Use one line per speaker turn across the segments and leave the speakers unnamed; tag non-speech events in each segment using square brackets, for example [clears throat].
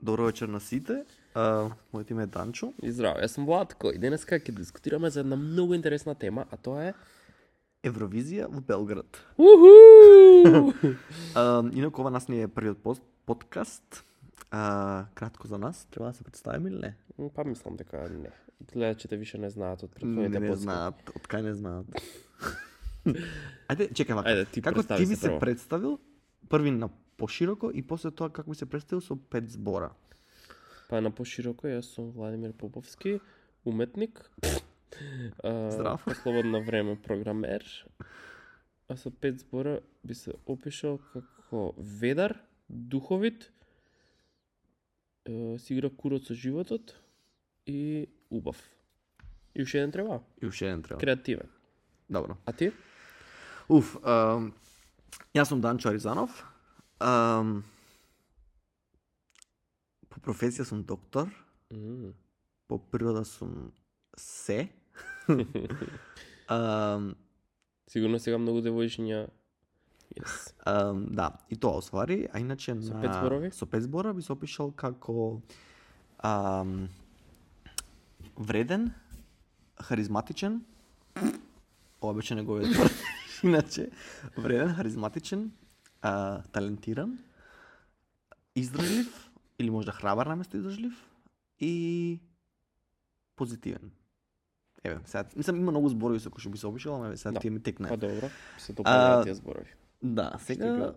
Добро вечер на сите. А, мојот име е Данчо.
И здраво, јас сум Владко и денеска ќе дискутираме за една многу интересна тема, а тоа е
Евровизија во Белград.
Уху!
А, инаку ова нас не е првиот пост, подкаст. А, кратко за нас, треба да се представиме или не?
Па мислам дека не. Гледачите више не знаат
Не,
од претходните
не
подскоки.
знаат, од кај не [laughs] знаат. Ајде, чекај вака.
Ајде, ти
како
представи
ти ви
се
се
прво.
представил? Први на пошироко и после тоа како ми се представил со пет збора.
Па на пошироко јас сум Владимир Поповски, уметник. а,
Здрав.
По слободно време програмер. А со пет збора би се опишал како ведар, духовит, е, си игра курот со животот и убав. И уште еден треба,
И уште еден треба.
креативен.
Добро.
А ти?
Уф, ам, јас сум Данчо Аризанов. Ам, по професија сум доктор,
Мм.
по природа сум се. ам,
Сигурно сега многу девојчиња Yes.
ам, да, и тоа освари, а иначе
Со
на...
пет зборови?
Со пет збора би се опишал како ам, вреден, харизматичен, ова беше неговиот збор. [laughs] иначе, вреден, харизматичен, а, талентиран, издржлив, или можда храбар наместо издржлив, и позитивен. Еве, сега, мислам, има многу зборови со кои што би се обишал, ама еве, сега
Да.
тие ми текна.
Па добро, се допълнуваат
А,
тие зборови.
Да,
Што ги
сега,
отбра.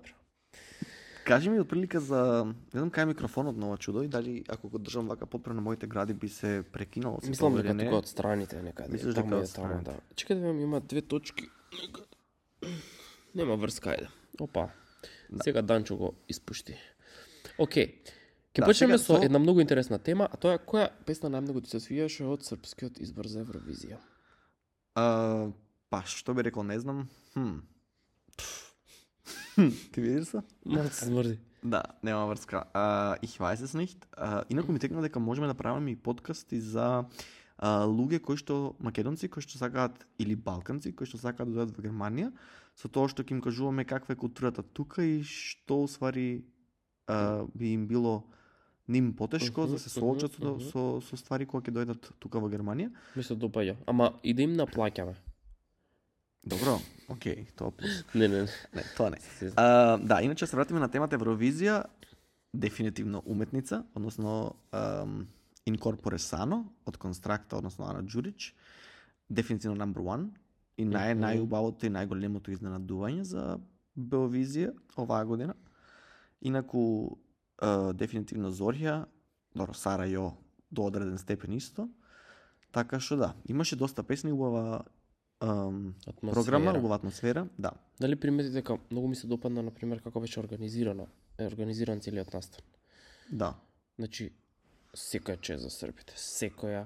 Кажи ми отприлика за... Не знам кај е микрофонот на ова чудо и дали ако го држам вака попре на моите гради би се прекинало се
Мислам
тоа или
дека
не?
тука од страните некаде.
Мислиш
таму
дека
е,
од
таму,
страните?
да. Чекај да видам, има две точки. некаде. Нема врска, ајде. Опа.
Да.
Сега Данчо го испушти. Океј. Ќе
Да,
почнеме
сега
со
со-
една многу интересна тема, а тоа е која песна најмногу ти се свијаше од српскиот избор за Евровизија.
А, па што би рекол, не знам. Хм. [laughs] Ти видиш се?
Малку се смрди.
Да, нема врска. А, ich weiß es nicht. А, инаку ми текна дека можеме да правиме и подкасти за а, луѓе кои што македонци кои што сакаат или балканци кои што сакаат да дојдат во Германија со тоа што ќе им кажуваме каква е културата тука и што усвари а, би им било ним потешко
Мгм,
за да се соочат со,
мгм, мгм.
со, со ствари кои ќе дојдат тука во Германија.
Ми се допаѓа. Ама и да им наплаќаме.
Добро, окей, тоа плюс.
Не, не, не.
Не, тоа не.
Се-
А, да, иначе се вратиме на темата Евровизија, дефинитивно уметница, односно ам, Incorpore Sano од Констракта, односно Ана Джурич, дефинитивно number one и нај
Мгм.
најубавото и најголемото изненадување за Беловизија оваа година. Инаку а, дефинитивно Зорија, добро Сара Јо до одреден степен исто. Така што да, имаше доста песни убава ам, програма,
Атмосфера.
убава атмосфера, да.
Дали примети дека многу ми се допадна, на пример, како беше организирано, е, организиран целиот настан.
Да.
Значи, секоја чест за србите. Секоја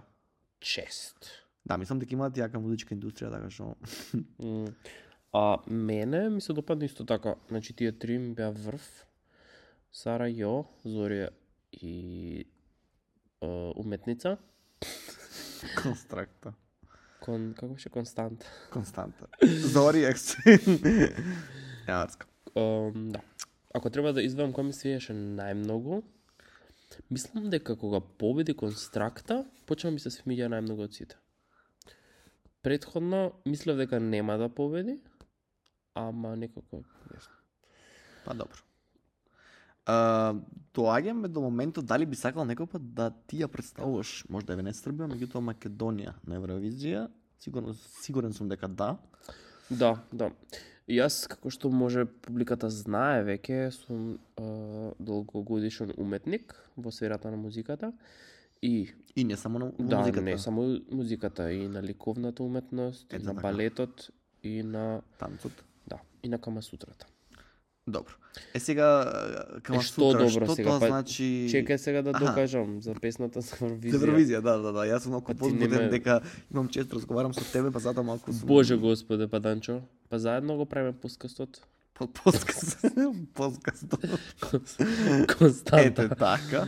чест.
Да, мислам дека имаат јака музичка индустрија, така што [laughs]
М, А мене ми се допадна исто така. Значи, тие три ми беа врв. Сара Јо, Зорија и е, уметница.
констракта.
Кон, како беше Констант?
Константа. Зори
[laughs]
ексен. Ја врска.
Ам, да. Ако треба да извадам кој ми свиеше најмногу, мислам дека кога победи констракта, почна ми се смиѓа најмногу од сите. Предходно, мислев дека нема да победи, ама некако... не знам.
Па добро. А, доаѓаме до моментот дали би сакал некој пат да ти ја представуваш, можда еве не Србија, меѓутоа Македонија на Евровизија. Сигурно сигурен сум дека да.
Да, да. Јас, како што може публиката знае веќе, сум е, долгогодишен уметник во сферата на музиката и
И не само на
Да,
музиката.
не само музиката, и на ликовната уметност, и
Ето
на
така.
балетот, и на
Танцот.
да, и на камасутрата.
Добро. Е сега кама
Е, што добро
што
сега,
тоа
па,
значи
Чекај сега да
аха.
докажам за песната за
За
Евровизија.
Евровизија, да, да, да. Јас сум малку
Па ти не
позбуден
ме-
дека имам чест да разговарам со тебе, па затоа малку сум
Боже господе, па Данчо, па заедно го правиме [laughs] пускастот.
Под подкаст. [laughs] подкаст.
Константа.
Ете така.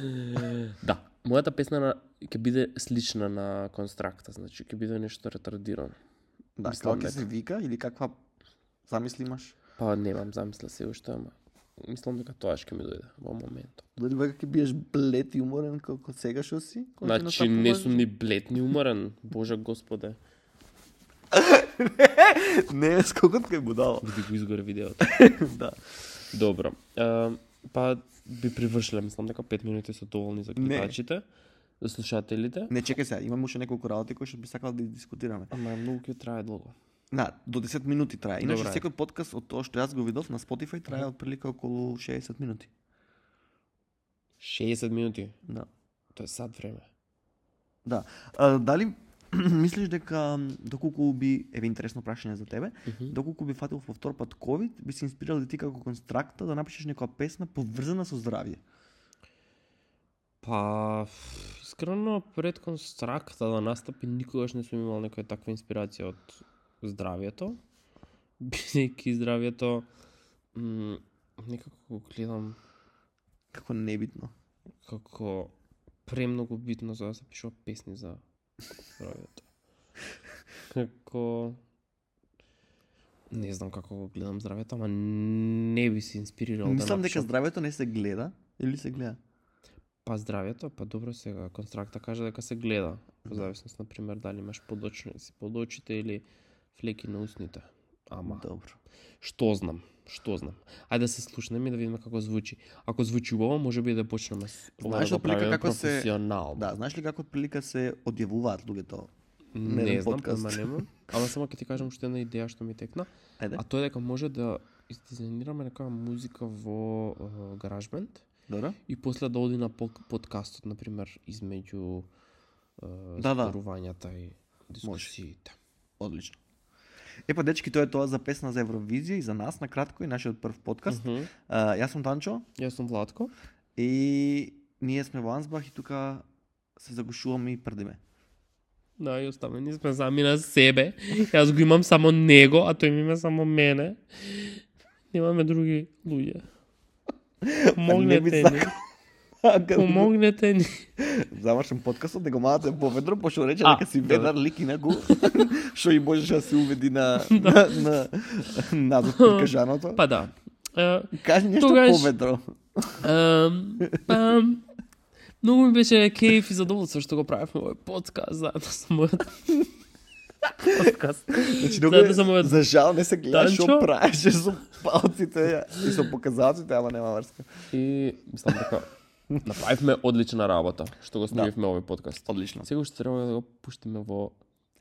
Да, мојата песна на, ќе биде слична на констракта, значи ќе биде нешто ретардирано.
Да,
Мислам
како ќе
дека.
се вика или каква замисли имаш?
Па немам замисла се уште, ама мислам дека тоа ќе ми дојде во моментот.
Дали бе ќе биеш блед и уморен како сега што си? кога ќе
Значи
настапуваш?
не сум ни блед ни уморен, боже господе.
[laughs] Не, скокот кај будала.
Види го изгоре видеото.
[laughs] да.
Добро. Е, па би привршиле, мислам дека 5 минути се доволни за гледачите, за слушателите.
Не, чекај сега, имам уште неколку работи кои што би сакал да ги дискутираме.
Ама многу ќе трае долго.
На, до 10 минути трае. Иначе
Добре.
секој подкаст од тоа што јас го видов на Spotify трае отприлика околу 60 минути.
60 минути,
Да.
тоа е сад време.
Да. А, дали [clears throat] мислиш дека м, доколку би еве интересно прашање за тебе,
Мгм.
доколку би фатил повтор пат ковид, би се инспирал и ти како констракта да напишеш некоја песна поврзана со здравје.
Па, искрено, пред констракта да настапи, никогаш не сум имал некоја таква инспирација од здравјето. [laughs] Бидејќи здравјето, м, некако го гледам
Како небитно.
како премногу битно за да се пишува песни за здравјето. Како... Не знам како го гледам здравјето, ама не би се инспирирал да
Мислам дека
напишам
здравјето не се гледа или се гледа.
Па здравјето, па добро сега, констракта каже дека се гледа,
Да.
во зависност на пример дали имаш подочни си под очите или флеки на усните. Ама, да.
Добро.
што знам, што знам. Ајде да се слушнеме и да видиме како звучи. Ако звучи убаво, може би да почнеме с ова
Знаеш
да го
отприлика
правиме
како се-
професионално.
Да, знаеш ли како отприлика се одјавуваат луѓето?
не,
еден
не знам,
подкаст.
ама немам. Ама само ќе ти кажам што една идеја што ми текна,
Ајде.
а тоа е дека може да издизајнираме некоја музика во uh, GarageBand.
Добро.
и после да оди на пок- подкастот, например, измеѓу е,
Да, да.
зборувањата и дискусиите.
Одлично. Епа, дечки, тоа е тоа за песна за Евровизија и за нас, на кратко, и нашиот прв подкаст.
Мгм.
А, јас сум Танчо
Јас сум Владко.
и ние сме во Ансбах и тука се загушуваме и прдиме.
Да, и оставени сме сами на себе. Јас го имам само него, а тој ми има само мене. Немаме други луѓе.
би
Помогнете ни.
сакал.
Помогнете ни.
Завршен подкастот, да го мавате поведро, пошто рече
А,
дека си
добро.
ведар лик и на
[laughs]
го, што и можеше да се уведи на, на, на, назад при кажаното.
Да. Па да. Е,
Кажи нешто
Тогаш-
поведро.
Ам, пам. Многу ми беше кеф и задоволство што го правевме овој подкаст заедно со мојот подкаст.
Значи,
Заедно со мојот
за жал не се гледа што
Танчо?
правеше со палците и со показаците, ама нема врска.
и мислам дека направивме одлична работа што го снимивме овој подкаст.
Одлично.
Сега уште треба да го пуштиме во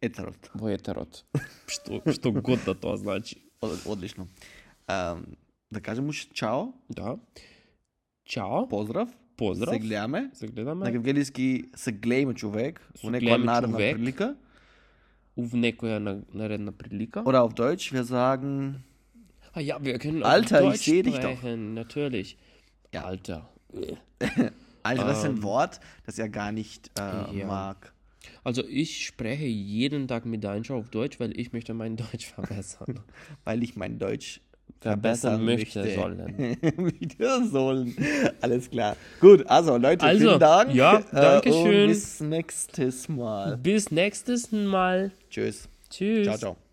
Етерот.
во етерот. Што што год да тоа значи.
Од- Одлично. А, да кажем уште чао,
Да. Чао.
поздрав.
Поздрав.
Се гледаме.
Се
На
гледаме
гревгелиски се гледаме човек
Се
во некоја
гледаме
наредна
човек.
прилика.
у некоја на- наредна прилика.
Oder auf Deutsch, wir sagen,
Ah ja, wir können auch
Alter,
Deutsch
ich seh dich
sprechen, natürlich. Ja. Alter.
Alter, das ist ein Wort, das er gar nicht äh,
Ähm, ja.
mag.
Also ich spreche jeden Tag mit Deinscher auf Deutsch, weil ich möchte mein [laughs] Deutsch verbessern.
Weil ich mein Deutsch
verbessern
verbessern
möchte,
möchte. [laughs]
sollen.
wieder sollen. Alles klar. Gut, also Leute,
Also,
vielen Dank. äh,
ja, danke
und
schön.
Bis nächstes Mal.
Bis nächstes Mal.
Tschüss.
Tschüss.
Ciao, ciao.